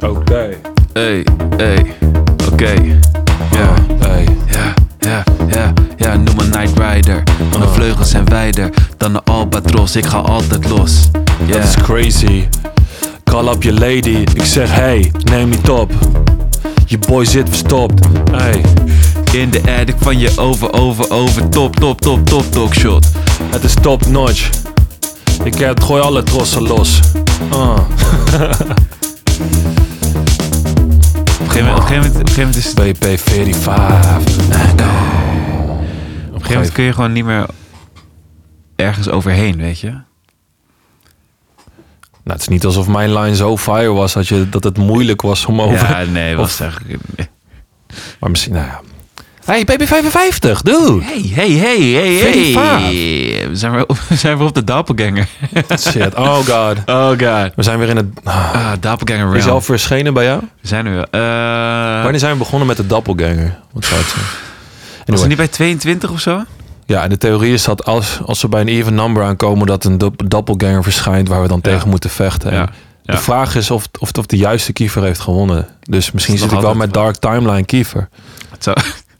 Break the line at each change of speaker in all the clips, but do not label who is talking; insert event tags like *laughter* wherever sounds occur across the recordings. Oké.
Hey, hey, oké. Ja,
Hey.
ja, ja, ja, ja, noem me Night Rider. Mijn vleugels zijn wijder dan de albatros, ik ga altijd los. Ja,
Dat is crazy. Call up je lady. Ik zeg hey, neem niet op. Je boy zit verstopt. Hey,
in de attic van je over, over, over, top, top, top, top, top shot.
het is top notch. Ik heb, gooi alle trossen los. Ah.
Op een gegeven moment, op een gegeven moment, op een gegeven moment, is het- op
BP45.
een gegeven moment kun je gewoon niet meer ergens overheen, weet je?
Nou, het is niet alsof mijn line zo fire was dat, je, dat het moeilijk was om over...
Ja, nee, was eigenlijk...
*laughs* Maar misschien, nou ja. Hey, BP55, dude!
Hey, hey, hey, hey,
Very
hey. Zijn we, op, *laughs* zijn we op de doppelganger?
Shit, oh god.
Oh god.
We zijn weer in het... Ah,
Ah, doppelganger
Is
realm.
hij al verschenen bij jou?
We zijn er wel. Eh,
Wanneer zijn we begonnen met de doppelganger? Wat zou het zijn?
was
Anyway.
het niet bij 22 of zo?
Ja, en de theorie is dat als, als we bij een even number aankomen... dat een dop- doppelganger verschijnt waar we dan
Ja.
tegen moeten vechten. En
Ja, ja.
De vraag is of, of, of de juiste kiefer heeft gewonnen. Dus misschien
is
zit ik
nog
wel
altijd
met Dark Timeline kiefer.
Dat zou,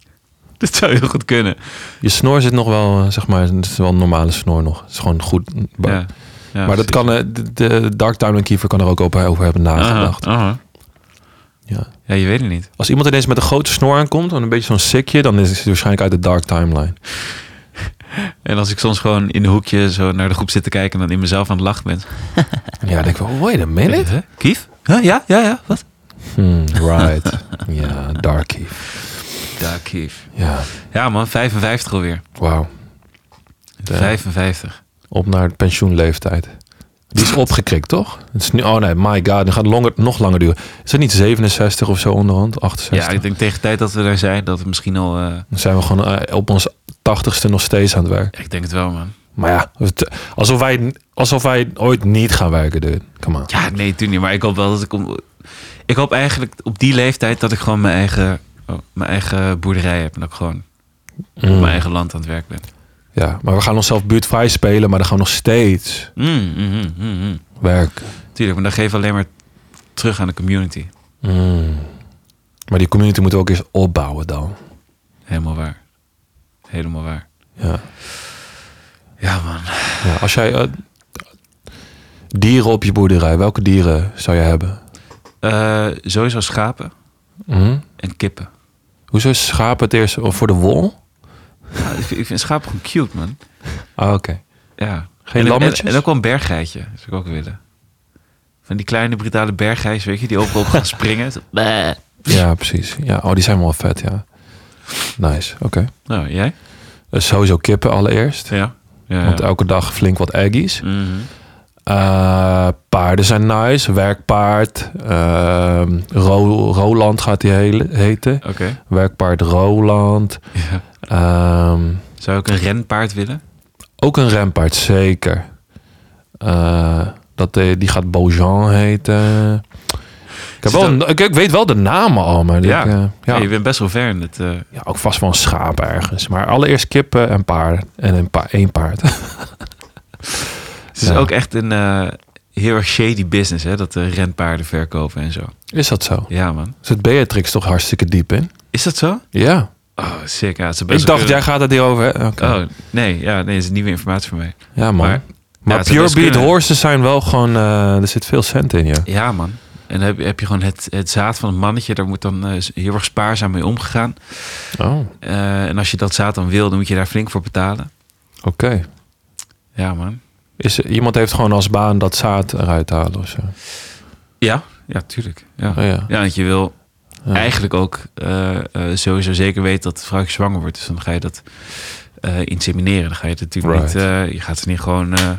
*laughs* dat zou heel goed kunnen.
Je snor zit nog wel, eh, zeg maar, het is wel een normale snor nog. Het is gewoon goed.
Ja.
Maar,
Ja,
maar dat
precies.
kan, eh, de, de Dark Timeline kiefer kan er ook op- over hebben
Aha,
nagedacht.
aha.
Ja.
Ja, je weet het niet.
Als iemand ineens met een grote snor aankomt en een beetje zo'n sikje, dan is het waarschijnlijk uit de Dark Timeline.
En als ik soms gewoon in een hoekje zo naar de groep zit te kijken... en dan in mezelf aan het lachen ben.
Ja, dan denk ik wel, wait a minute.
Huh? Kief? Huh? Ja, ja, ja. Wat?
Hmm, right. *laughs* ja, Dark Kief.
Daar, Kief.
Ja,
Ja man, 55 alweer.
wauw.
55.
Op naar de pensioenleeftijd. Die is opgekrikt, toch? Het is nu, oh nee, my god, nu gaat het langer, nog langer duren. Is dat niet 67 of zo onderhand? 68?
Ja, ik denk tegen de tijd dat we daar zijn... dat we misschien al... eh,
Dan zijn we gewoon eh, op ons tachtigste nog steeds aan het werk.
ik denk het wel man.
Maar ja, het- alsof wij, alsof wij ooit niet gaan werken, dude. Come on.
Ja, nee, toen niet. Maar ik hoop wel dat ik... Om... Ik hoop eigenlijk op die leeftijd dat ik gewoon mijn eigen, oh, mijn eigen boerderij heb. En dat ik gewoon
Mm.
op mijn eigen land aan het werk ben.
Hmm. Ja, maar we gaan onszelf buurtvrij spelen, maar dan gaan we nog steeds
Mm, mm, mm, mm, mm.
werken.
Tuurlijk, maar dan geef ik alleen maar terug aan de community.
Mm. Maar die community moeten we ook eens opbouwen dan.
Helemaal waar. Helemaal waar.
Ja.
Ja, man.
Ja, als jij eh, dieren op je boerderij, welke dieren zou jij hebben?
Eh, sowieso schapen
Mhm.
en kippen.
Hoezo is schapen het eerst voor de wol?
*laughs* Ja, ik, vind, ik vind schapen gewoon cute, man.
Ah, oké.
Ja.
Geen
en,
lammetjes?
En, en ook wel een berggeitje. Dat zou ik ook willen. Van die kleine brutale berggeitjes, weet je, die overal op *laughs* gaan springen. Zo, bleh.
Ja, precies. Ja, oh, die zijn wel vet, ja. Nice, oké.
Nou, jij?
Eh, sowieso kippen allereerst.
Ja. ja, ja.
Want elke dag flink wat eggies.
Mhm.
Eh, paarden zijn nice. Werkpaard. ehm, Ro- Roland gaat die hele, heten.
Oké.
Werkpaard Roland.
Ja.
Ehm,
Zou ik een renpaard willen?
ook een rempaard, zeker. Eh, dat, eh, die gaat Beaujean heten. Ik, heb
Zit
wel, ik, ik weet wel de namen al, maar die-
Ja.
ik, eh, ja.
Ja. je bent best wel ver in het... eh,
Ja, ook vast wel een schaap ergens. Maar allereerst kippen en paarden. En een pa één paard. *laughs*
het is
Ja.
ook echt een eh, heel erg shady business, hè? Dat de renpaarden verkopen en zo.
Is dat zo?
Ja, man.
Zit Beatrix toch hartstikke diep in?
Is dat zo?
Ja.
Oh, sick. Ja, het is best
Ik
wel
dacht, jij
kunnen-
gaat het hierover. hè? Oké.
Oh, nee. Ja, nee, dat is nieuwe informatie voor mij.
Ja, man.
Maar-
Maar,
ja, het zou
pure
best
breed
kunnen.
horses zijn wel gewoon... eh, er zit veel cent in, ja.
Ja, man. En dan heb, heb je gewoon het, het zaad van het mannetje. Daar moet dan eh, heel erg spaarzaam mee omgegaan.
Oh, oké.
Eh, en als je dat zaad dan wil, dan moet je daar flink voor betalen. Ja, man.
Is er- Iemand heeft gewoon als baan dat zaad eruit halen of zo.
Ja? Ja, tuurlijk. Ja,
Oh, ja.
ja want je wil
Ja.
eigenlijk ook eh, eh, sowieso zeker weet dat het vrouwtje zwanger wordt. Dus dan ga je dat eh, insemineren. Dan ga je het natuurlijk
Right.
niet. eh, je gaat ze niet gewoon eh,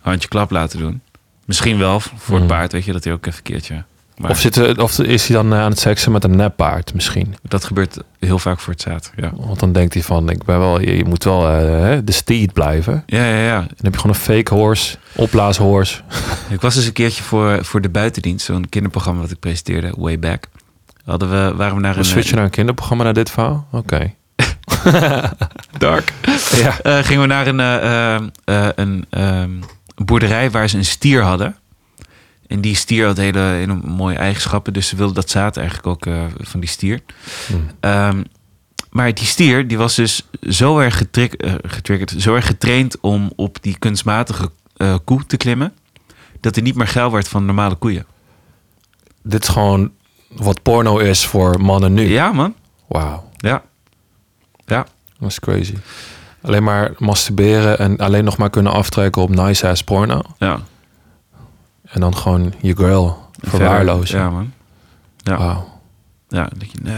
handje klap laten doen. Misschien wel v- voor het
Mm.
paard, weet je, dat hij ook even een keertje. Maar
Of, zit, er- of is hij dan eh, aan het seksen met een neppaard misschien?
dat gebeurt heel vaak voor het zaad. Ja,
Want dan denkt hij van, ik ben wel, je, je moet wel eh, hè, de steed blijven. En
ja, ja. ja.
dan heb je gewoon een fake horse, opblaashorse.
Ik was dus een keertje voor, voor de buitendienst, zo'n kinderprogramma wat ik presenteerde, way back. Hadden we, waren we naar
We
een
switchen naar een kinderprogramma naar dit verhaal? Oké.
dark.
Ja.
Eh, gingen we naar een, eh, eh, eh, een ehm, boerderij waar ze een stier hadden. En En die stier had hele, hele mooie eigenschappen. Dus ze wilden dat zaad eigenlijk ook eh, van die stier.
Hmm.
Ehm, maar die stier die was dus zo erg getrik- eh, getriggerd, zo erg getraind om op die kunstmatige eh, koe te klimmen. Dat hij niet meer geil werd van normale koeien.
Dit is gewoon wat porno is voor mannen nu.
Ja, man.
Wauw,
Ja. Ja.
dat is crazy. Alleen maar masturberen en alleen nog maar kunnen aftrekken op nice ass porno.
ja.
En dan gewoon je girl verwaarlozen.
Ja, man. Ja.
Wauw.
Ja, dan denk je, nee,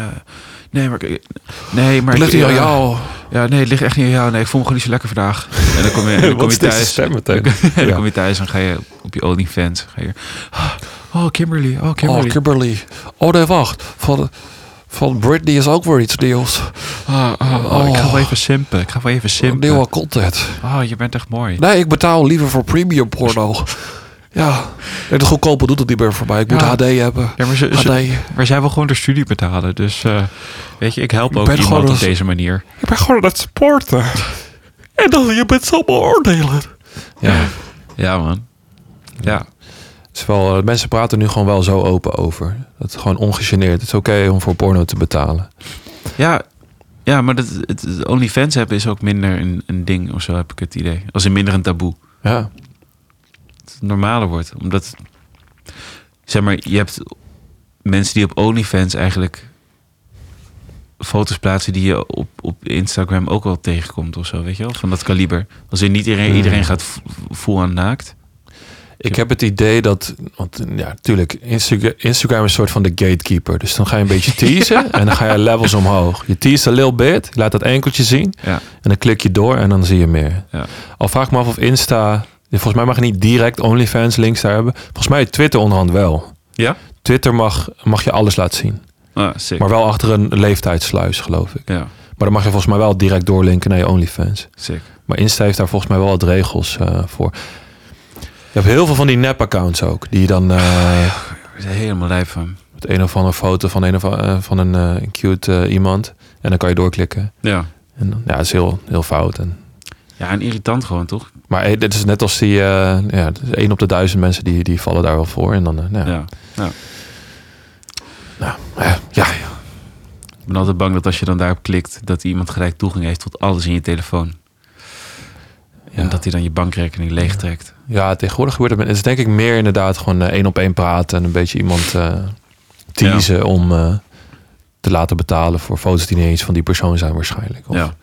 nee, maar... ik- Nee, maar
Het ligt
ik-
hier aan
ja, *laughs*
jou.
Ja, nee, het ligt echt niet aan jou. Nee, ik voel me gewoon niet zo lekker vandaag. *laughs* En dan kom je, en dan kom
Wat
je
is deze
thuis.
stem meteen?
*laughs* En dan
Ja.
kom je thuis en ga je op je OnlyFans. Ga je, oh, Kimberly. Oh, Kimberly.
Oh, Kimberly. Oh, nee, wacht. Van, van Britney is ook weer iets nieuws.
Ah, ah, ah, Ik ga wel
Oh.
even simpen. Ik ga wel even simpen.
Nieuwe content.
Oh, je bent echt mooi.
Nee, ik betaal liever voor premium porno. Ja. Nee, de goedkope doet het niet meer voor mij. Ik moet
Ja.
HD hebben.
Ja, maar, ze, ze-
HD.
maar zij wil gewoon de studie betalen. Dus eh, weet je, ik help
Ik
ook
ben gewoon
iemand op
als-
deze manier.
Ik ben gewoon aan het sporten. En dan je bent zo beoordelen. Ja.
Ja, man. Ja.
Het is wel, eh, mensen praten nu gewoon wel zo open over. Dat is gewoon ongegeneerd. Het is oké om voor porno te betalen.
Ja, ja maar dat, het, het OnlyFans hebben is ook minder een, een ding of zo, heb ik het idee. Als in minder een taboe.
Ja.
Dat het normaler wordt. Omdat, zeg maar, je hebt mensen die op OnlyFans eigenlijk foto's plaatsen die je op, op Instagram ook wel tegenkomt of zo, weet je wel? Van dat kaliber. Als in niet iedereen,
Hmm.
iedereen gaat v- full aan naakt.
Ik heb het idee dat, want ja, natuurlijk, Instagram, Instagram is een soort van de gatekeeper. Dus dan ga je een beetje teasen en dan ga je levels omhoog. Je teast een little bit, je laat dat enkeltje zien
Ja.
en dan klik je door en dan zie je meer.
Ja.
Al vraag ik me af of Insta, volgens mij mag je niet direct OnlyFans links daar hebben. Volgens mij Twitter onderhand wel.
Ja?
Twitter mag, mag je alles laten zien.
Ah, sick.
Maar wel achter een leeftijdsluis, geloof ik.
ja,
Maar dan mag je volgens mij wel direct doorlinken naar je OnlyFans.
sick.
Maar Insta heeft daar volgens mij wel wat regels eh, voor. Je hebt heel veel van die nep-accounts ook. Die je dan eh,
Ik word er helemaal lijf van.
met een of andere foto van een, of, eh, van een eh, cute eh, iemand. En dan kan je doorklikken.
Ja.
En dan, ja, dat is heel, heel fout. En,
Ja, en irritant gewoon, toch?
maar eh, dit is net als die... eh ja, het is één op de duizend mensen die, die vallen daar wel voor. En dan, eh, nou,
Ja.
ja. eh, ja,
Ik ben altijd bang dat als je dan daarop klikt, dat iemand gelijk toegang heeft tot alles in je telefoon.
Ja.
En dat hij dan je bankrekening leegtrekt.
Ja, tegenwoordig gebeurt het. met- Het is denk ik meer inderdaad gewoon eh, één op één praten en een beetje iemand eh teasen om eh, te laten betalen voor foto's die niet eens van die persoon zijn waarschijnlijk. Of,
Ja.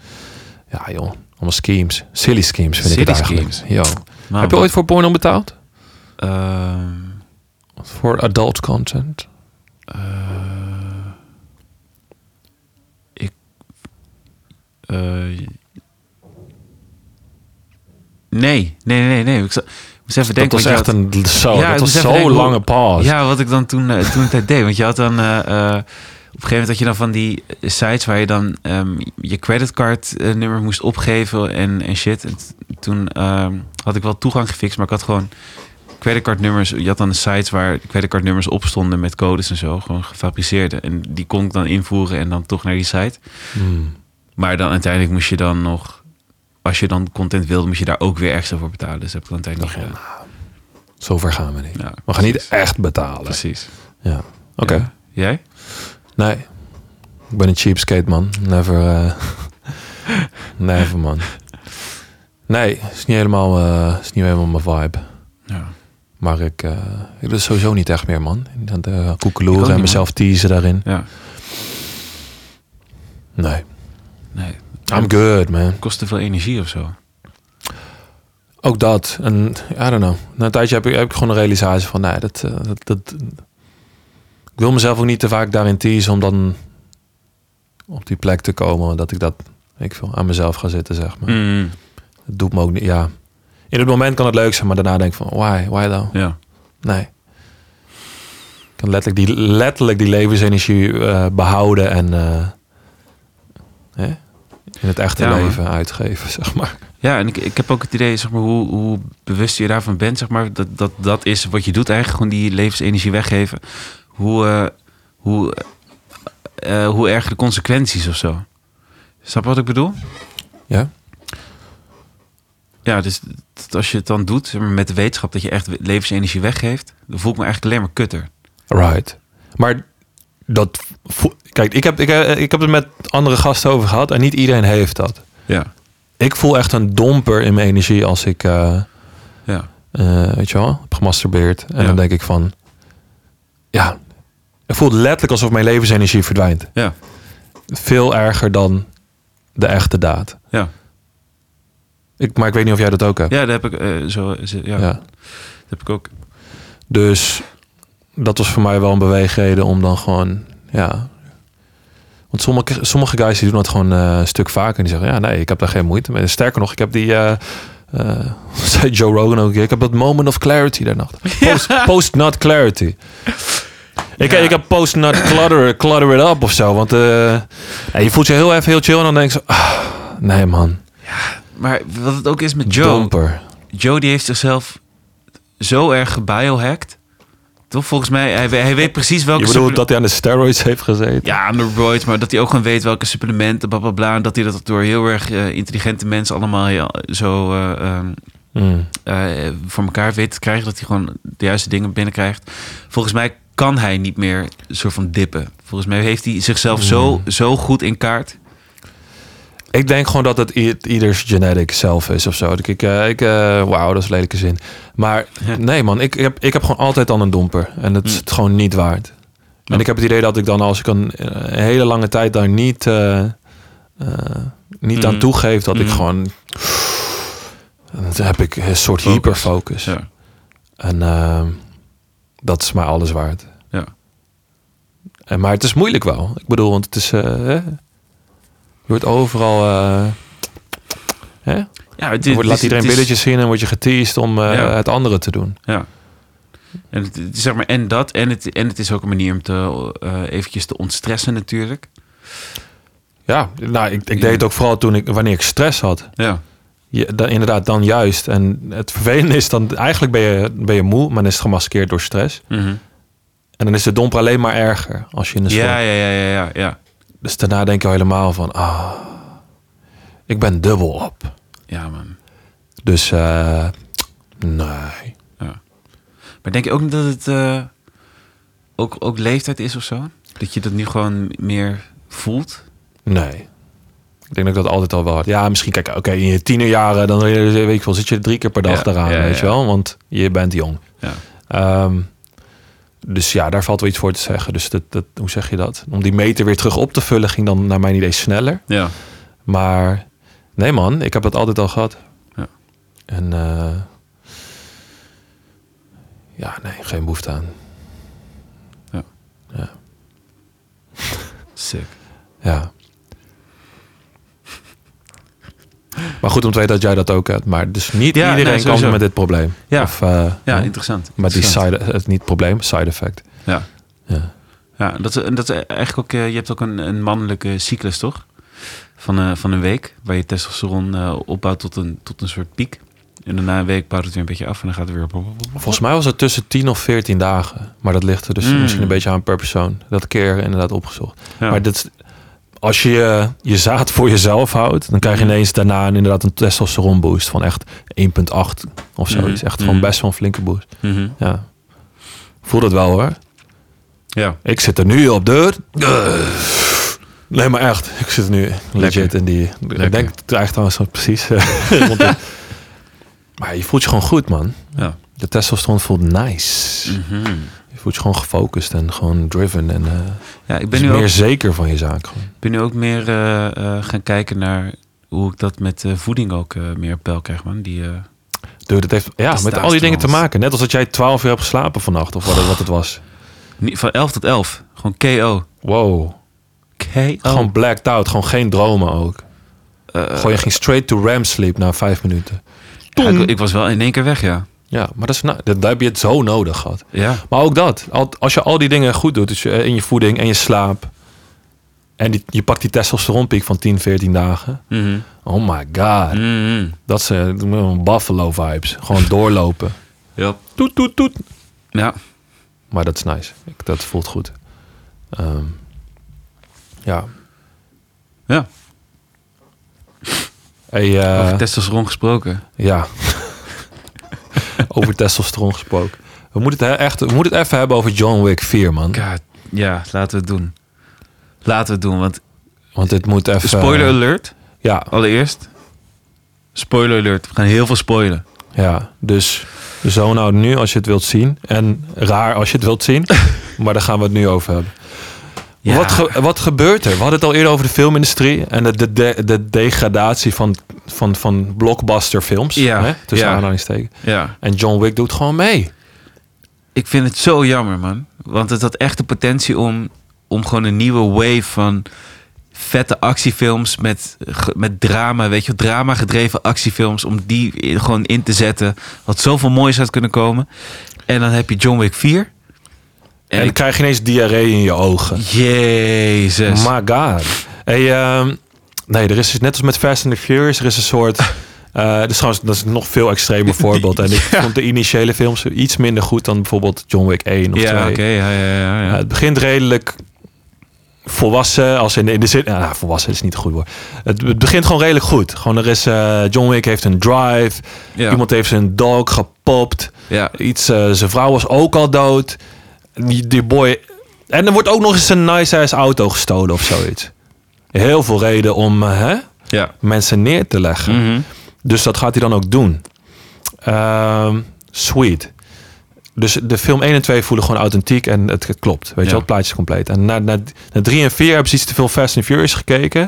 ja, joh. Allemaal schemes. Silly schemes vind ik
Silly
het eigenlijk.
schemes.
Yo.
Nou,
Heb je ooit voor porno betaald?
dat- Ehm,
Voor adult content?
Eh, ik. eh, nee, nee, nee, nee. Ik zal, ik moest even denken.
dat was
want
echt
je
een zo,
Ja, ik
dat was
moest even
zo
denken hoe-
lange
had-
pause.
Ja, wat ik dan toen, eh, toen tijd *laughs* deed. Want je had dan. eh, eh, op een gegeven moment had je dan van die eh, sites waar je dan ehm, je creditcard eh, nummer moest opgeven en, en shit. En t- toen ehm, had ik wel toegang gefixt, maar ik had gewoon creditcardnummers. Je had dan sites waar creditcardnummers op stonden met codes en zo, gewoon gefabriceerde. En die kon ik dan invoeren en dan toch naar die site.
Hmm.
Maar dan uiteindelijk moest je dan nog, als je dan content wilde, moest je daar ook weer extra voor betalen. Dus dat heb ik dan uiteindelijk niet gedaan.
Zover gaan we niet.
Ja,
We gaan niet
precies.
echt betalen.
Precies.
Ja. Oké.
Ja. Jij?
Nee. Ik ben een cheapskate, man. Never. eh, *laughs* never, man. Nee, is niet helemaal, eh, is niet helemaal mijn vibe.
Ja.
Maar ik, eh ik doe het sowieso niet echt meer, man. Dat eh,
Ik ook
koekeloeren
niet,
en mezelf teasen daarin.
Ja.
Nee.
Nee.
I'm good, man.
Het kost te veel energie of zo.
Ook dat. En I don't know. Na een tijdje heb ik, heb ik gewoon een realisatie van... Nee, dat, eh, dat, dat... Ik wil mezelf ook niet te vaak daarin teasen... om dan op die plek te komen... dat ik dat, weet ik veel, aan mezelf ga zitten, zeg maar.
Mm,
Het doet me ook niet, ja. In het moment kan het leuk zijn, maar daarna denk ik van, why, why dan?
Ja.
Nee. Ik kan letterlijk die, letterlijk die levensenergie eh, behouden en eh, hè? in het echte
Ja, man.
leven uitgeven, *laughs* zeg maar.
Ja, en ik, ik heb ook het idee, zeg maar, hoe, hoe bewust je daarvan bent, zeg maar, dat, dat dat is wat je doet eigenlijk, gewoon die levensenergie weggeven. Hoe, eh, hoe, eh, eh, hoe erg de consequenties of zo. Snap je wat ik bedoel?
Ja?
Ja, dus dat als je het dan doet zeg maar, met de wetenschap dat je echt we- levensenergie weggeeft, dan voel ik me eigenlijk alleen maar kutter.
Right. Maar dat. vo- Kijk, ik heb, ik, eh, ik heb het met andere gasten over gehad en niet iedereen heeft dat.
Ja,
Ik voel echt een domper in mijn energie als ik, eh,
ja,
eh, weet je wel, heb gemasturbeerd. En
Ja.
dan denk ik van, ja, het voelt letterlijk alsof mijn levensenergie verdwijnt.
ja,
Veel erger dan de echte daad.
ja.
Ik, maar ik weet niet of jij dat ook hebt.
Ja, dat heb ik, eh, zo, is het- ja,
Ja.
Dat heb ik ook.
Dus dat was voor mij wel een beweegreden om dan gewoon, ja. Want sommige, sommige guys die doen dat gewoon eh, een stuk vaker. En die zeggen, ja, nee, ik heb daar geen moeite mee. Sterker nog, ik heb die, eh, eh, *laughs* zei Joe Rogan ook, een keer, ik heb dat moment of clarity daarnacht. Post, post not
*laughs*
clarity. Ik,
Ja.
ik heb post not clutter, clutter it up of zo. Want eh, ja, je voelt je heel even heel chill en dan denk je zo, ah, nee man,
Maar wat het ook is met Joe,
domper.
Joe die heeft zichzelf zo erg gebiohacked. Toch volgens mij, hij, we- hij weet precies welke...
Je bedoelt
supple-
dat hij aan de steroids heeft gezeten?
Ja, aan de roids, maar dat hij ook gewoon weet welke supplementen, bla bla bla. En dat hij dat door heel erg eh, intelligente mensen allemaal heel- zo eh, ehm,
Mm.
eh, voor elkaar weet te krijgen. Dat hij gewoon de juiste dingen binnenkrijgt. Volgens mij kan hij niet meer een soort van dippen. Volgens mij heeft hij zichzelf zo, zo goed in kaart.
Ik denk gewoon dat het i- ieders genetic zelf is of zo. Ik, ik, eh, ik eh, wauw, dat is lelijke zin. Maar
Ja.
nee man, ik, ik heb, ik heb gewoon altijd al een domper. En dat is
Mm.
het gewoon niet waard. En
Ja.
ik heb het idee dat ik dan als ik een, eh, hele lange tijd daar niet, eh, eh, niet aan
Mm.
toegeef, dat ik
Mm.
gewoon... Dan heb ik een soort
Focus.
hyperfocus.
Ja.
En ehm, dat is mij alles waard.
Ja.
En, maar het is moeilijk wel. Ik bedoel, want het is... eh, hè, je wordt overal... eh, hè?
Ja, het,
Dan wordt, laat
het
iedereen
het
billetjes zien en word je geteased om eh,
Ja.
het andere te doen.
Ja. En, het, het is zeg maar, en dat, en het, en het is ook een manier om te, eh, eventjes te ontstressen natuurlijk.
Ja, nou, ik, ik
Ja.
deed het ook vooral toen ik, wanneer ik stress had.
Ja,
Je, dan, inderdaad, dan juist. En het vervelende is dan, eigenlijk ben je, ben je moe, maar dan is het gemaskeerd door stress.
Mhm.
En dan is de domper alleen maar erger als je in de storm
ja, ja, ja, ja, ja, ja.
Dus daarna denk je al helemaal van, ah, ik ben dubbel op.
Ja, man.
Dus, eh, nee.
Maar denk je ook niet dat het eh, ook, ook leeftijd is of zo? Dat je dat nu gewoon meer voelt?
Nee. Ik denk dat ik dat altijd al wel had. Ja, misschien, kijk, oké, in je tienerjaren, dan weet ik wel, zit je drie keer per dag
Ja,
daaraan,
ja,
weet
ja.
je wel? Want je bent jong.
Ja.
Ehm, dus ja, daar valt wel iets voor te zeggen. Dus dat, dat, hoe zeg je dat? Om die meter weer terug op te vullen ging dan naar mijn idee sneller.
Ja.
Maar nee man, ik heb dat altijd al gehad.
Ja.
En eh, ja, nee, geen behoefte aan.
Sick.
Ja. Maar goed om te weten dat jij dat ook hebt. Maar dus niet
Ja,
iedereen
nee, sowieso.
kan met dit probleem.
Ja.
Of, eh,
Ja,
ja,
interessant.
met die
Interessant.
side, het niet probleem, side effect.
Ja.
Ja.
Ja, dat, is- dat is eigenlijk ook, eh, je hebt ook een, een mannelijke cyclus, toch? Van, eh, van een week, waar je testosteron eh, opbouwt tot een, tot een soort piek. En daarna een week bouwt het weer een beetje af en dan gaat het weer... op-
Volgens mij was het tussen 10 of 14 dagen. Maar dat ligt er dus
Mm.
misschien een beetje aan per persoon. Dat keer inderdaad opgezocht.
Ja.
Maar dat, is- als je eh, je zaad voor jezelf houdt, dan krijg je
Mhm.
ineens daarna een, inderdaad een testosteron boost van echt 1,8 of zo.
Mhm.
Dat is echt
Mhm.
gewoon best wel een flinke boost.
Mhm.
Ja. Voel dat wel hoor.
Ja.
Ik zit er nu op deur. Nee, maar echt. Ik zit nu legit
Lekker.
in die...
Lekker.
Ik denk het eigenlijk trouwens wel precies. eh, *laughs* rond de- maar je voelt je gewoon goed, man.
Ja.
De testosteron voelt nice.
Mhm.
Je voelt je gewoon gefocust en gewoon driven. En eh,
ja, ik
dus
ben nu,
meer
ook,
zeker van je zaak. Gewoon.
ben nu ook meer eh, eh, gaan kijken naar hoe ik dat met eh, voeding ook eh, meer op peil krijg, man. Die, eh,
Dude, dat heeft ja,
Dat is
met al die
duister,
dingen te
man.
maken. Net als dat jij 12 uur hebt geslapen vannacht. Of wat, het- wat het was.
niet- van 11 tot 11. Gewoon KO.
Wow.
KO.
Gewoon blacked out. Gewoon geen dromen ook.
Eh,
gewoon je ging straight to REM sleep na vijf minuten.
ja, ik, ik was wel in één keer weg, ja.
Ja, maar dat is, na- dat, daar heb je het zo nodig gehad.
Ja.
Maar ook dat, al- als je al die dingen goed doet, dus je, eh, in je voeding en je slaap. En die, je pakt die testosteronpiek van 10, 14 dagen.
Mhm.
Oh my god.
Mhm.
Dat is eh, buffalo vibes. Gewoon doorlopen.
Ja.
Toet, toet, toet.
Ja.
Maar dat is nice. Ik, dat voelt goed. Ehm, ja.
Ja.
Hey, eh,
Over testosteron gesproken.
ja. *laughs* over testosteron gesproken. We moeten, het he- echt, we moeten het even hebben over John Wick 4, man.
God, ja, laten we het doen. Laten we het doen, want
Want dit moet even...
spoiler alert.
Ja,
Allereerst, spoiler alert. We gaan heel veel spoilen.
ja. Dus zo nou nu als je het wilt zien. En raar als je het wilt
*laughs*
zien. maar daar gaan we het nu over hebben.
Ja.
Wat, ge- wat gebeurt er? We hadden het al eerder over de filmindustrie en de, de, de, de degradatie van, van, van blockbusterfilms.
Ja,
Hè? Tussen
ja.
aanhalingstekens.
ja.
En John Wick doet gewoon mee.
Ik vind het zo jammer, man. Want het had echt de potentie om, om gewoon een nieuwe wave van vette actiefilms met, ge- met drama, weet je, drama gedreven actiefilms, om die i- gewoon in te zetten. Wat zoveel moois had kunnen komen. En dan heb je John Wick 4.
En,
En,
dan
ik,
krijg je ineens diarree in je ogen.
Jezus.
My god. Hey, ehm, nee, er is dus net als met Fast and the Furious, er is een
*laughs*
soort... eh dus trouwens, dat is een nog veel extremer voorbeeld. En ik
Ja.
vond de initiële films iets minder goed dan bijvoorbeeld John Wick 1 of 2.
ja, oké. ja, ja, ja, ja.
Ja, het begint redelijk volwassen, als in de, in de zin... Nou, volwassen is niet een goed woord. Het, het begint gewoon redelijk goed. Gewoon er is... eh, John Wick heeft een drive.
Ja.
Iemand heeft zijn dog gepopt.
ja.
Iets, eh, zijn vrouw was ook al dood. Die, die boy... En er wordt ook nog eens een nice-ass auto gestolen of zoiets. Heel veel reden om eh, hè,
ja.
mensen neer te leggen.
Mhm.
Dus dat gaat hij dan ook doen. Ehm, sweet. Dus de film 1 en 2 voelen gewoon authentiek en het, het klopt. Weet je
Ja.
wel, het plaatje is compleet. En na, na, na 3 en 4 hebben ze iets te veel Fast and Furious gekeken,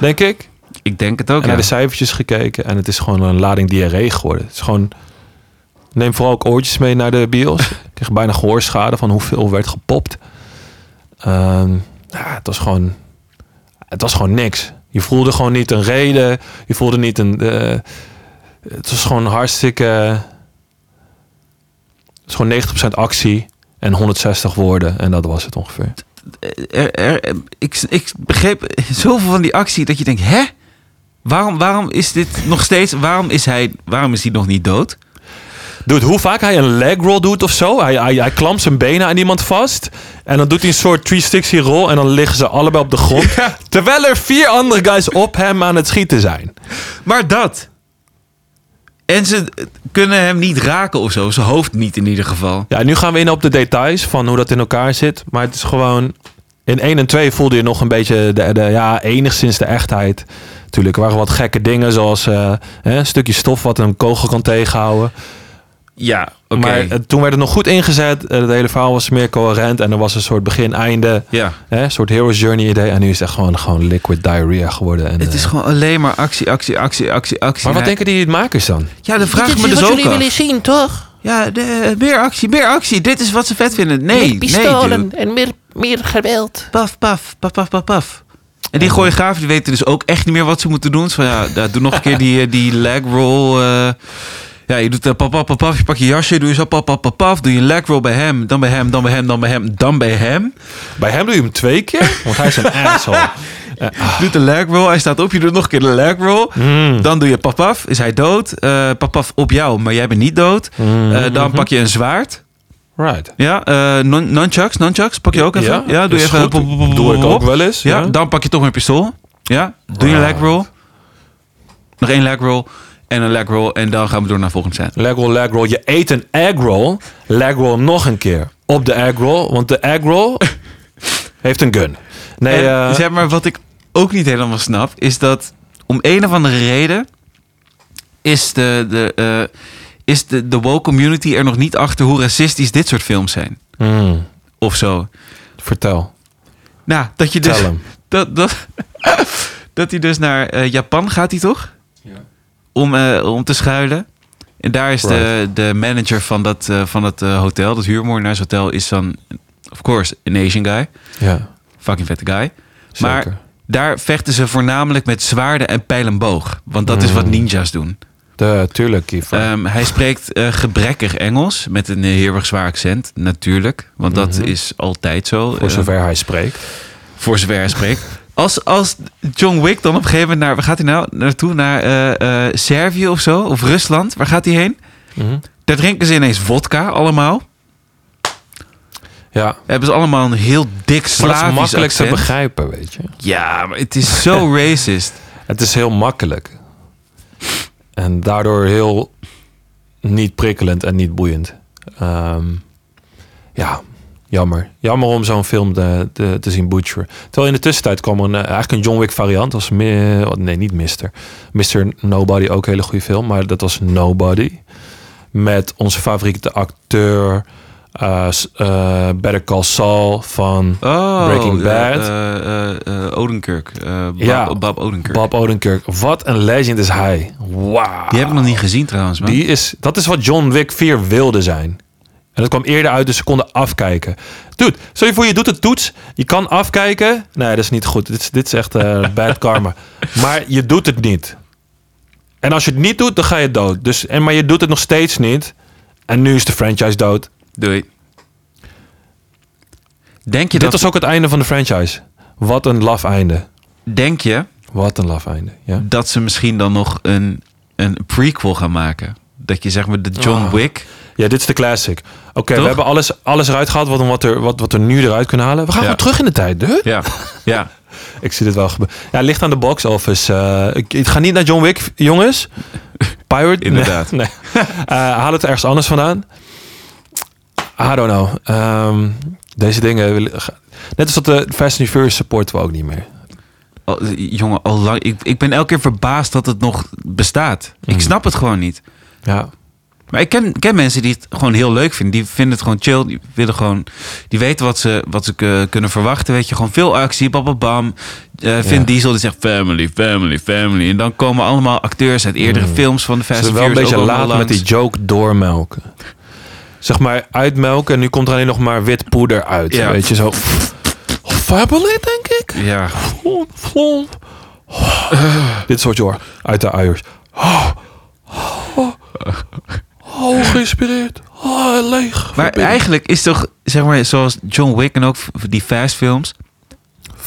denk ik.
Ik denk het ook.
En
ja.
naar de cijfertjes gekeken en het is gewoon een lading diarree geworden. Het is gewoon... Neem vooral ook oortjes mee naar de
*laughs*
bios. Ik kreeg bijna gehoorschade van hoeveel werd gepopt. Ehm, ja, het was gewoon... Het was gewoon niks. Je voelde gewoon niet een reden. Je voelde niet een... eh, het was gewoon hartstikke... Het is gewoon 90% actie en 160 woorden. En dat was het ongeveer.
er, Eh, er- ik, ik begreep zoveel van die actie dat je denkt, hè? Waarom, waarom is dit nog steeds, waarom is hij, waarom is hij nog niet dood?
Dude, hoe vaak hij een leg roll doet of zo. Hij, hij, hij klampt zijn benen aan iemand vast. En dan doet hij een soort 360 roll. En dan liggen ze allebei op de
*laughs*
grond. Terwijl er vier andere guys op hem aan het schieten zijn.
Maar dat. En ze eh, kunnen hem niet raken of zo, zijn hoofd niet in ieder geval.
Ja, nu gaan we in op de details van hoe dat in elkaar zit. Maar het is gewoon... In 1 en 2 voelde je nog een beetje de, de, ja, enigszins de echtheid. Tuurlijk, er waren wat gekke dingen zoals eh, hè, een stukje stof wat een kogel kan tegenhouden.
Ja, oké.
Maar eh, toen werd het nog goed ingezet. Eh, Het hele verhaal was meer coherent en er was een soort begin-einde.
ja.
Hè, een soort Hero's Journey idee. En nu is het echt gewoon, gewoon liquid diarrhea geworden. En,
Het is
eh,
gewoon alleen maar actie, actie, actie, actie, actie.
maar wat
En hij-
denken die makers dan?
Ja, de vraag
Dit
is
is
me
wat
dus ook
jullie
af.
willen zien, toch?
Ja, de, eh, meer actie, meer actie. Dit is wat ze vet vinden. Nee,
meer
nee,
pistolen
dude.
en meer, meer geweld.
Paf, paf, paf, paf, paf, paf. En die choreografen die weten dus ook echt niet meer wat ze moeten doen. Dus van, ja, ja, doe nog een keer die, eh, die leg roll. eh. ja, je doet eh, paf, paf, paf, paf. Je pakt je jasje, doe je zo paf, paf, paf, paf. Doe je een leg roll bij hem, dan bij hem, dan bij hem, dan bij hem, dan bij hem.
Bij hem doe je hem twee keer, want hij is *laughs* een asshole. Ah.
Je doet de leg roll, hij staat op, je doet nog een keer de leg roll.
Mm.
Dan doe je paf, paf, is hij dood. Eh paf, paf, op jou, maar jij bent niet dood. Eh, dan pak je een zwaard.
Mm. Right.
Ja, eh nun- nunchucks, nunchucks, pak je ook even. Ja, doe je
is
even.
goed.
pop, pop, pop,
Doe ik
pop,
ook wel eens.
Ja, dan pak je toch een pistool. Ja, doe je een leg
Right.
roll. Nog één leg roll en een leg roll. En dan gaan we door naar volgend set.
Leg roll, leg roll. Je eet een egg roll. Leg roll nog een keer. Op de egg roll, want de egg *laughs* roll heeft een gun. Nee,
En,
eh,
zeg maar, wat ik ook niet helemaal snap, is dat om een of andere reden is de, de, eh, is de, de woke community er nog niet achter hoe racistisch dit soort films zijn.
mm,
Of zo.
vertel.
Nou, dat je dus.
Tell hem.
dat, dat, *laughs* dat hij dus naar eh, Japan gaat, hij toch? Om, eh, om te schuilen. En daar is de, de manager van dat, eh, van dat eh, hotel, dat huurmoordenaarshotel, is dan, of course, een Asian guy.
Ja,
Fucking vette guy.
zeker.
Maar daar vechten ze voornamelijk met zwaarden en pijl en boog. Want dat is
Mm.
wat ninja's doen.
de, tuurlijk, Kiefer.
Ehm, hij spreekt eh, gebrekkig Engels met een eh, heel erg zwaar accent, natuurlijk. Want dat is altijd zo.
Mm-hmm. voor
Eh,
zover hij spreekt.
voor zover hij spreekt. Als, als John Wick dan op een gegeven moment naar... Waar gaat hij nou naartoe? Naar eh, eh, Servië of zo? Of Rusland? Waar gaat hij heen?
Mhm.
Daar drinken ze ineens vodka allemaal.
Ja,
Hebben ze allemaal een heel dik
maar dat
Slavisch
is makkelijk
accent.
te begrijpen, weet je. *laughs*
Ja, maar het is zo racist.
Het is heel makkelijk. En daardoor heel niet prikkelend en niet boeiend. Ehm, ja, jammer. Jammer om zo'n film te, te, te zien butcheren. Terwijl in de tussentijd kwam er een, eh, eigenlijk een John Wick variant. Dat was mi- oh, nee, niet Mister. Mister Nobody, ook een hele goede film. Maar dat was Nobody. Met onze favoriete acteur... eh, s- eh, Better Call Saul van
Oh,
Breaking
eh,
Bad.
eh, eh, eh, Odenkirk. Eh, Bob,
Ja.
Bob Odenkirk.
Bob Odenkirk. Wat een legend is hij. Wauw.
Die heb ik nog niet gezien trouwens. Man.
Die is, dat is wat John Wick 4 wilde zijn. En dat kwam eerder uit, dus ze konden afkijken. Dude, stel je voor, je doet de toets. Je kan afkijken. Nee, dat is niet goed. Dit is, dit is echt
*laughs*
eh, bad karma. Maar je doet het niet. En als je het niet doet, dan ga je dood. Dus, en, maar je doet het nog steeds niet. En nu is de franchise dood.
Doei. Denk je,
Dit
dat,
was ook het einde van de franchise. Wat een laf einde.
denk je
Wat een laf einde. Ja.
dat ze misschien dan nog een, een prequel gaan maken? Dat je zeg maar de John
Ah.
Wick...
Ja, dit is de classic. Oké, we
Toch?
hebben alles, alles eruit gehaald wat, wat, er, wat, wat we nu eruit kunnen halen. We gaan
Ja.
gewoon terug in de tijd. Huh?
Ja, ja.
Ik zie dit wel gebeuren. Ja, ligt aan de box office. Eh, ik, ik ga niet naar John Wick, jongens. Pirate? Nee,
Inderdaad.
Nee, *laughs* Eh, haal het ergens anders vandaan. I don't know. Ehm, deze dingen... willen- ga- Net als dat de Fast and Furious supporten we ook niet meer.
Al- jongen, al lang, ik, ik ben elke keer verbaasd dat het nog bestaat.
Mm.
Ik snap het gewoon niet.
Ja.
Maar ik ken, ken mensen die het gewoon heel leuk vinden. Die vinden het gewoon chill. Die willen gewoon. Die weten wat ze, wat ze eh, kunnen verwachten. Weet je, gewoon veel actie. Bababam. Eh Vin
Ja.
Diesel die zegt family, family, family. En dan komen allemaal acteurs uit eerdere films van de
Hmm. Ze
Fast
zijn
and
wel een
Furious
beetje
ook allemaal
laat met die
langs.
joke doormelken. Zeg maar uitmelken en nu komt er alleen nog maar wit poeder uit.
Ja.
Weet je, zo... Fabulous, denk ik.
Ja,
Flom, flom. Oh, *sighs* Dit soort joh, uit de uiers. *sighs* Oh, oh, oh, geïnspireerd. Oh, leeg.
maar eigenlijk is toch, zeg maar, zoals John Wick en ook v- die fast films.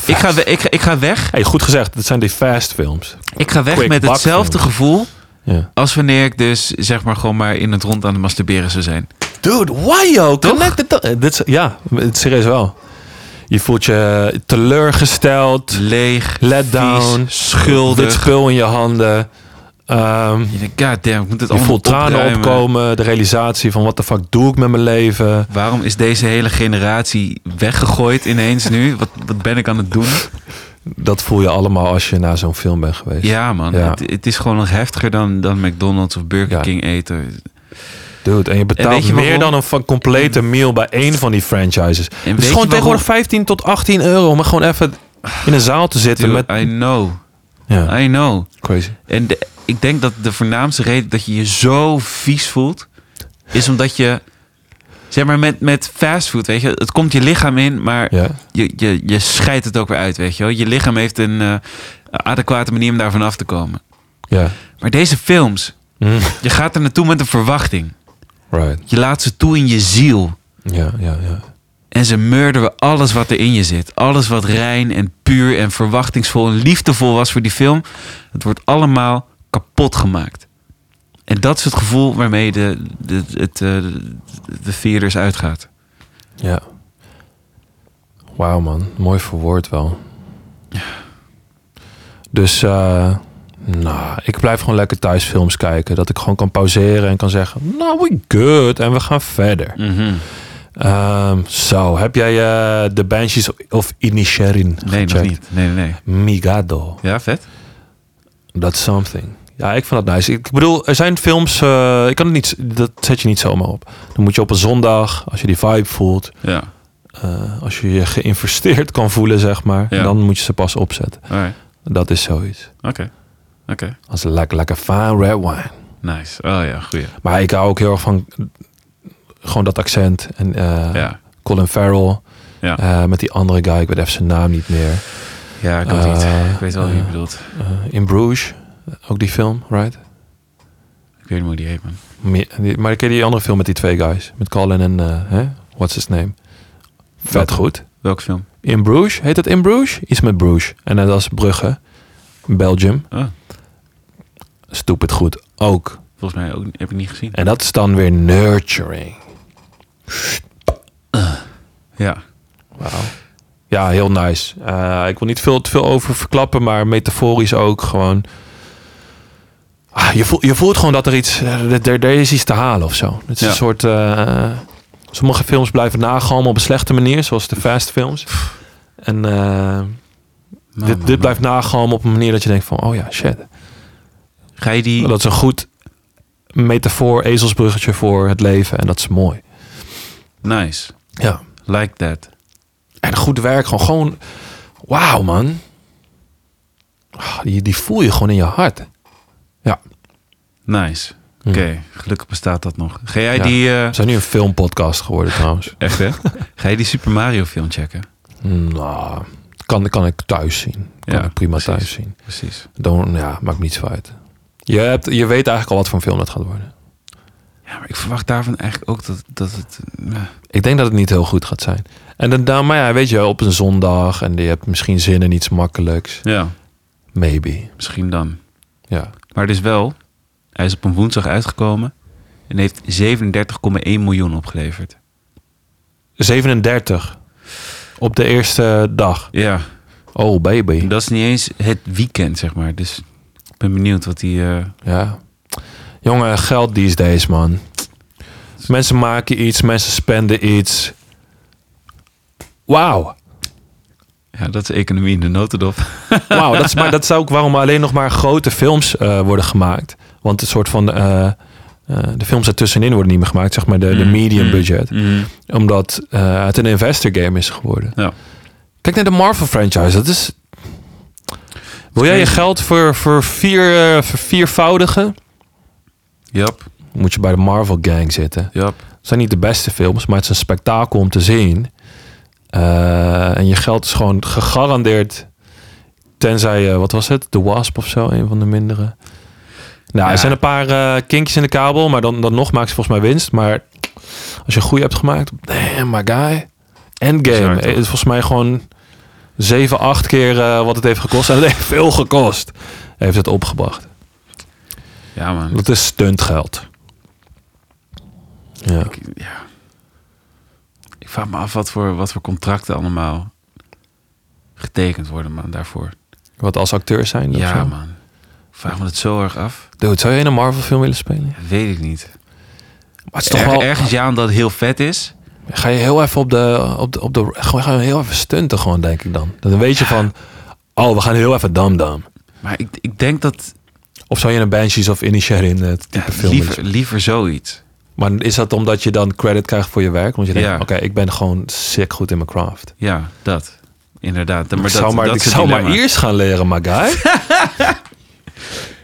Ik ga, we- ik, ga- ik ga weg.
Hey, goed gezegd, dat zijn die fast films.
Ik ga weg
Quick
met
buck
hetzelfde
films.
gevoel
Ja.
Als wanneer ik dus zeg maar gewoon maar in het rond aan het masturberen zou zijn.
Dude, why yo? Connect it. Eh, Dit, is- ja, het is serieus wel. Je voelt je teleurgesteld,
Leeg,
let down,
vies, schuldig.
dit spul in je handen. Ehm,
Je denkt, god damn, ik moet het
je
allemaal
voelt tranen
opruimen.
opkomen, de realisatie van wat de fuck doe ik met mijn leven.
Waarom is deze hele generatie weggegooid ineens nu? *laughs* Wat, wat ben ik aan het doen?
Dat voel je allemaal als je naar zo'n film bent geweest.
Ja man,
Ja.
Het, het is gewoon nog heftiger dan, dan McDonald's of Burger
Ja.
King eten.
Dude, en je betaalt
En weet je
meer
waarom? Mm.
dan een van complete meal bij één van die franchises.
En
Het is gewoon tegenwoordig 15 tot 18 euro om gewoon even in een zaal te zitten
Dude,
met...
I know,
Ja,
I know.
crazy.
En de- ik denk dat de voornaamste reden dat je je zo vies voelt, is omdat je, zeg maar met, met fastfood, weet je, het komt je lichaam in, maar
Ja.
je, je, je scheidt het ook weer uit, weet je wel. Je lichaam heeft een eh, adequate manier om daarvan af te komen. *laughs*
Ja.
Maar deze films,
Mm.
je gaat er naartoe met een verwachting.
Right.
Je laat ze toe in je ziel.
Ja, ja, ja.
En ze murderen alles wat er in je zit. Alles wat rein en puur en verwachtingsvol en liefdevol was voor die film. Het wordt allemaal kapot gemaakt. En dat is het gevoel waarmee de, de, het, eh, de, de theaters uitgaat.
Ja. Wauw man, mooi verwoord wel. Dus, eh, nou, ik blijf gewoon lekker thuis films kijken. Dat ik gewoon kan pauzeren en kan zeggen, nou, we good. En we gaan verder. Ehm, zo, heb jij eh, The Banshees of Inisherin
Nee, nog
gecheckt?
niet. Nee, nee, nee.
Migado.
Ja, vet.
That's something. Ja, ik vind dat nice. Ik bedoel, er zijn films. eh, ik kan het niet. Dat zet je niet zomaar op. Dan moet je op een zondag, als je die vibe voelt,
Ja,
eh, als je je geïnvesteerd kan voelen, zeg maar,
Ja.
dan moet je ze pas opzetten.
alright.
Dat is zoiets.
Oké. Oké.
Als lekker, lekker fine red wine.
Nice. Oh ja, goeie.
Maar ik hou ook heel erg van eh, gewoon dat accent en eh,
Ja.
Colin Farrell
Ja.
eh, met die andere guy. Ik weet even zijn naam niet meer.
Ja, ik,
Eh,
weet niet. ik weet wel wie je
eh,
bedoelt.
Eh, in Bruges, eh, ook die film, right?
Ik weet niet hoe die heet, man.
Me- die- Maar ik ken die andere film met die twee guys. Met Colin en, eh, hè? what's his name? Vet
Welke?
goed.
Welke film?
In Bruges, heet het In Bruges? Iets met Bruges. En eh, dat is Brugge, Belgium.
Oh.
Stupid goed ook.
Volgens mij ook, heb ik niet gezien.
En dat is dan weer nurturing.
Ja.
Wauw. Ja, heel nice. Eh, ik wil niet veel, te veel over verklappen, maar metaforisch ook gewoon. Ah, je, voelt, je voelt gewoon dat er iets, eh, er, er- er is iets te halen of zo. Het is
Ja.
een soort, eh, sommige films blijven nagalmen op een slechte manier, zoals de Fast films. En eh,
Man,
dit,
man,
dit
man.
blijft nagalmen op een manier dat je denkt van, oh ja, shit.
Ga je die...
Oh, Dat is een goed metafoor, ezelsbruggetje voor het leven en dat is mooi.
Nice.
Ja.
Like that.
En goed werk, gewoon, gewoon wauw man. Ah, Die, die voel je gewoon in je hart.
Nice.
Hm.
Oké, gelukkig bestaat dat nog. Ga jij
Ja.
die... eh,
We zijn nu een filmpodcast geworden trouwens. *laughs*
echt, hè? Ga je die Super Mario film checken?
Nou, kan, kan ik thuis zien. Kan
Ja,
ik prima
precies.
thuis zien.
Precies.
Dan, ja, maakt me niets van uit. Je, hebt, je weet eigenlijk al wat voor een film dat gaat worden.
Ja, maar ik verwacht daarvan eigenlijk ook dat, dat het... eh,
Ik denk dat het niet heel goed gaat zijn. En dan, dan maar ja, weet je, op een zondag en je hebt misschien zin in iets makkelijks.
ja,
Maybe.
misschien dan.
Ja.
Maar het is wel... Hij is op een woensdag uitgekomen en heeft 37,1 miljoen opgeleverd.
37 op de eerste dag.
Ja,
Oh,
en
baby.
dat is niet eens het weekend, zeg maar. Dus ik ben benieuwd wat die... eh,
Ja. Jongen, geld these days, man. Mensen maken iets, mensen spenden iets. Wauw.
ja, dat is economie in de notendop.
Wauw, dat, is maar- dat zou ook waarom alleen nog maar grote films eh, worden gemaakt. Want het soort van. eh, eh, de films ertussenin worden niet meer gemaakt, zeg maar de, de medium budget.
Mm.
Omdat eh, het een investor game is geworden.
Ja.
Kijk naar de Marvel franchise. Dat is. Wil jij je
Crazy.
geld voor, voor vier, eh, verviervoudigen?
Jap,
Moet je bij de Marvel gang zitten.
jap.
Het zijn niet de beste films, maar het is een spektakel om te zien. Eh, en je geld is gewoon gegarandeerd. Tenzij, eh, wat was het? The Wasp of zo, een van de mindere. Nou,
Ja.
er zijn een paar eh, kinkjes in de kabel, maar dan, dan nog maakt ze volgens mij winst. Maar als je een goede hebt gemaakt, damn my guy.
Bizar,
Endgame.
toch?
Eh, Het is volgens mij gewoon 7, 8 keer eh, wat het heeft gekost. *laughs* En het heeft veel gekost. Heeft het opgebracht.
Ja, man.
Dat is stuntgeld. Ja.
Ik- ja. Ik vraag me af wat voor, wat voor contracten allemaal getekend worden, man, daarvoor.
Wat als acteur zijn? of
ja,
zo?
man. Ik vraag me dat zo erg af.
Dude, zou je in een Marvel film willen spelen?
Weet ik niet.
Maar het is toch
Er,
wel... Ah,
Ergens ja, omdat het heel vet is.
Ga je heel even op de... Op de, op de gewoon, gewoon heel even stunten gewoon, denk ik dan. Dan weet je van... Oh, we gaan heel even dam-dam.
Maar ik, ik denk dat
Of zou je een Banshees of Inisherin eh, type
ja,
film willen
liever, liever zoiets.
spelen? Maar is dat omdat je dan credit krijgt voor je werk? Want je denkt,
Ja.
oké, ik ben gewoon sick goed in mijn craft.
Ja, dat. Inderdaad. Maar
ik
dat,
zou maar,
dat
ik
is het
zou maar
dilemma.
eerst gaan leren, my
*laughs*
guy.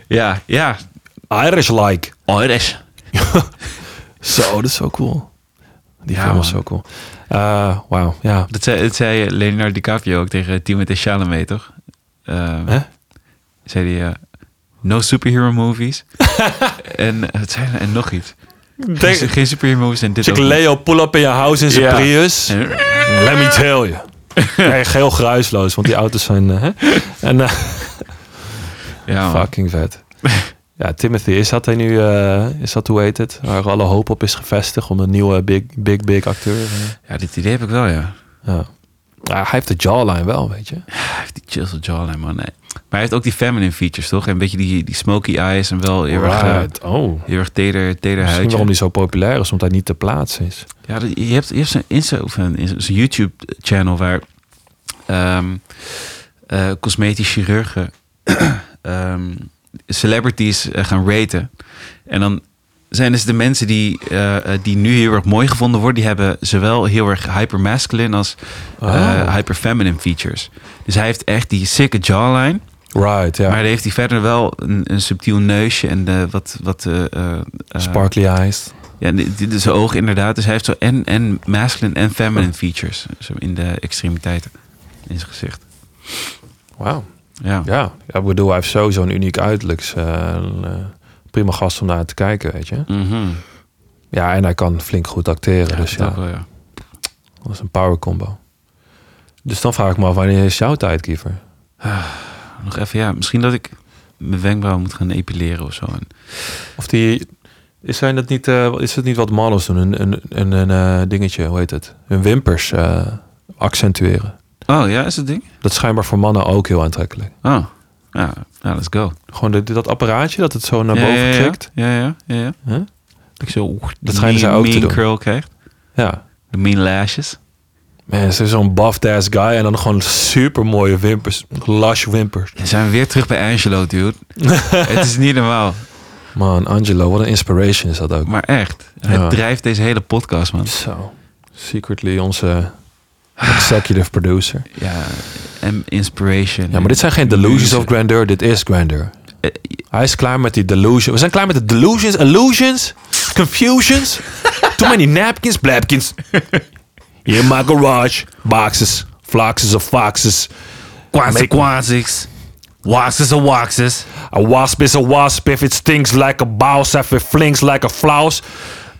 Ja, ja.
Irish like.
Oh, dat is...
Zo, dat is zo cool. Die
Ja,
film was
man.
zo cool. Eh, Wauw, ja.
Dat zei, dat zei Leonardo DiCaprio ook tegen Timothée Chalamet, toch? Eh,
Hè?
Zei hij, eh, no superhero
*laughs*
movies. en eh, wat zei hij? En nog iets. Geen,
Denk,
geen superhero movies en dit
Chick
ook
Leo, pull up in je house in zijn
Ja.
Prius.
niet. En-
Let me tell *laughs* you. Nee, geel geruisloos, want die auto's zijn... eh, hè? en, *laughs* eh,
Ja, man.
fucking vet. Ja, Timothy, is dat hij nu... eh, is dat hoe heet het? Waar alle hoop op is gevestigd om een nieuwe big, big, big acteur. eh,
ja, dit idee heb ik wel, ja.
ja. Ja, hij heeft de jawline wel, weet je.
Hij heeft die chill jawline, man. Nee. Maar hij heeft ook die feminine features, toch? En een beetje die, die smoky eyes en wel heel erg, eh,
Right. Oh.
heel erg teder, teder
Misschien waarom
huidje.
hij zo populair is, omdat hij niet te plaatsen is.
Ja, dat- je hebt, je hebt zijn Insta of een- zijn YouTube-channel waar ehm, eh, cosmetisch chirurgen *clears throat* ehm, celebrities eh, gaan raten. En dan zijn dus de mensen die, eh, eh, die nu heel erg mooi gevonden worden, die hebben zowel heel erg hypermasculine als
Ah.
eh hyperfeminine features. Dus hij heeft echt die sikke jawline.
Right, ja.
Maar hij heeft hij verder wel een, een subtiel neusje en de, wat, wat eh, eh, eh,
Sparkly eyes.
ja, dit dit is zijn oog inderdaad. Dus hij heeft zo en, en masculine en feminine features. Zo in de extremiteiten in zijn gezicht.
Wauw.
Ja.
Ja. ja, ik bedoel, hij heeft sowieso een uniek uiterlijks. eh, een, eh, prima gast om naar te kijken, weet je.
Mhm.
Ja, en hij kan flink goed acteren.
Ja,
dus
dat
ja,
ook wel, ja.
dat is een power combo. Dus dan vraag ik me af, wanneer is jouw tijd, Kiefer?
Nog even, ja. Misschien dat ik mijn wenkbrauw moet gaan epileren of zo. En,
Of die... Is, zijn dat niet, eh, is dat niet wat models doen? Een, een, een, een eh, dingetje, hoe heet het? Hun wimpers eh, accentueren.
oh ja, is dat ding?
Dat is schijnbaar voor mannen ook heel aantrekkelijk.
Oh, Ja, nou, let's go.
Gewoon de- dat apparaatje dat het zo naar
Ja,
boven
ja, ja.
trekt.
Ja, ja, ja. ja.
Huh?
Dat ik zo oeh,
Dat schijnen ze
mean-
ook te
mean
doen.
curl krijgt.
Ja.
De mean lashes.
Man, ze is zo'n buffed ass guy en dan gewoon super mooie wimpers. Lush wimpers.
Dan zijn we weer terug bij
*laughs*
Angelo, dude. het is niet normaal.
Man, Angelo, wat een inspiration is dat ook.
Maar echt, het
Ja.
drijft deze hele podcast, man.
Zo. Secretly onze eh, executive producer.
Ja, en inspiration.
Ja, maar dit zijn geen delusions Eh, of grandeur. Dit is grandeur. Hij is klaar met die delusion. We zijn klaar met de delusions, illusions, *laughs* confusions. Too many napkins, blapkins. In my garage, boxes, floxes of foxes.
Quasi
Make-
quasics. Waxes of waxes.
A wasp is a wasp if it stings like a bouse, if it flings like a flouse.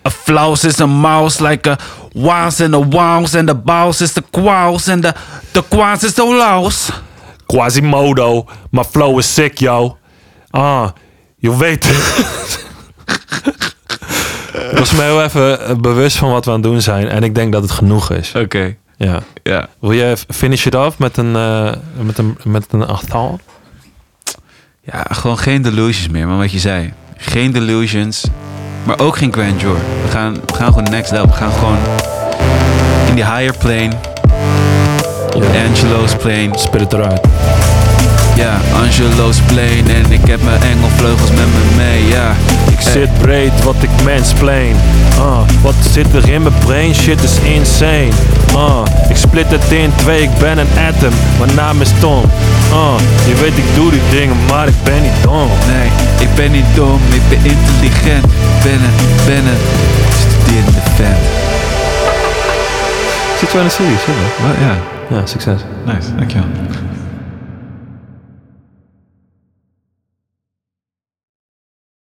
A flouse is a mouse like a wows and a wows and the bows is the quaus and the the quas is the louse.
Quasimodo, my flow is sick, yo. Ah, je weet het. *laughs* Ik was me heel even eh, bewust van wat we aan het doen zijn. En ik denk dat het genoeg is.
Oké,
Ja.
ja.
Wil jij finish it off met een, eh, met een, met een achtal?
Ja, gewoon geen delusions meer, maar wat je zei. Geen delusions, maar ook geen grandeur. We gaan, we gaan gewoon next level. We gaan gewoon in die higher plane, op
Ja.
Angelo's plane.
Spit het eruit.
Ja, Angelo's plane en ik heb mijn engelvleugels met me mee, ja. Eh,
Ik zit breed, wat ik mansplain. Ah, wat zit er in mijn brain? Shit is insane. Ah, ik split het in twee, ik ben een atom. Mijn naam is Tom. Ah, je weet ik doe die dingen, maar ik ben niet dom.
Nee, ik ben niet dom, ik ben intelligent. Ben een, ben een studerende fan.
Zit wel in de series, hè?
Wat? Ja,
Ja, succes.
nice, dankjewel.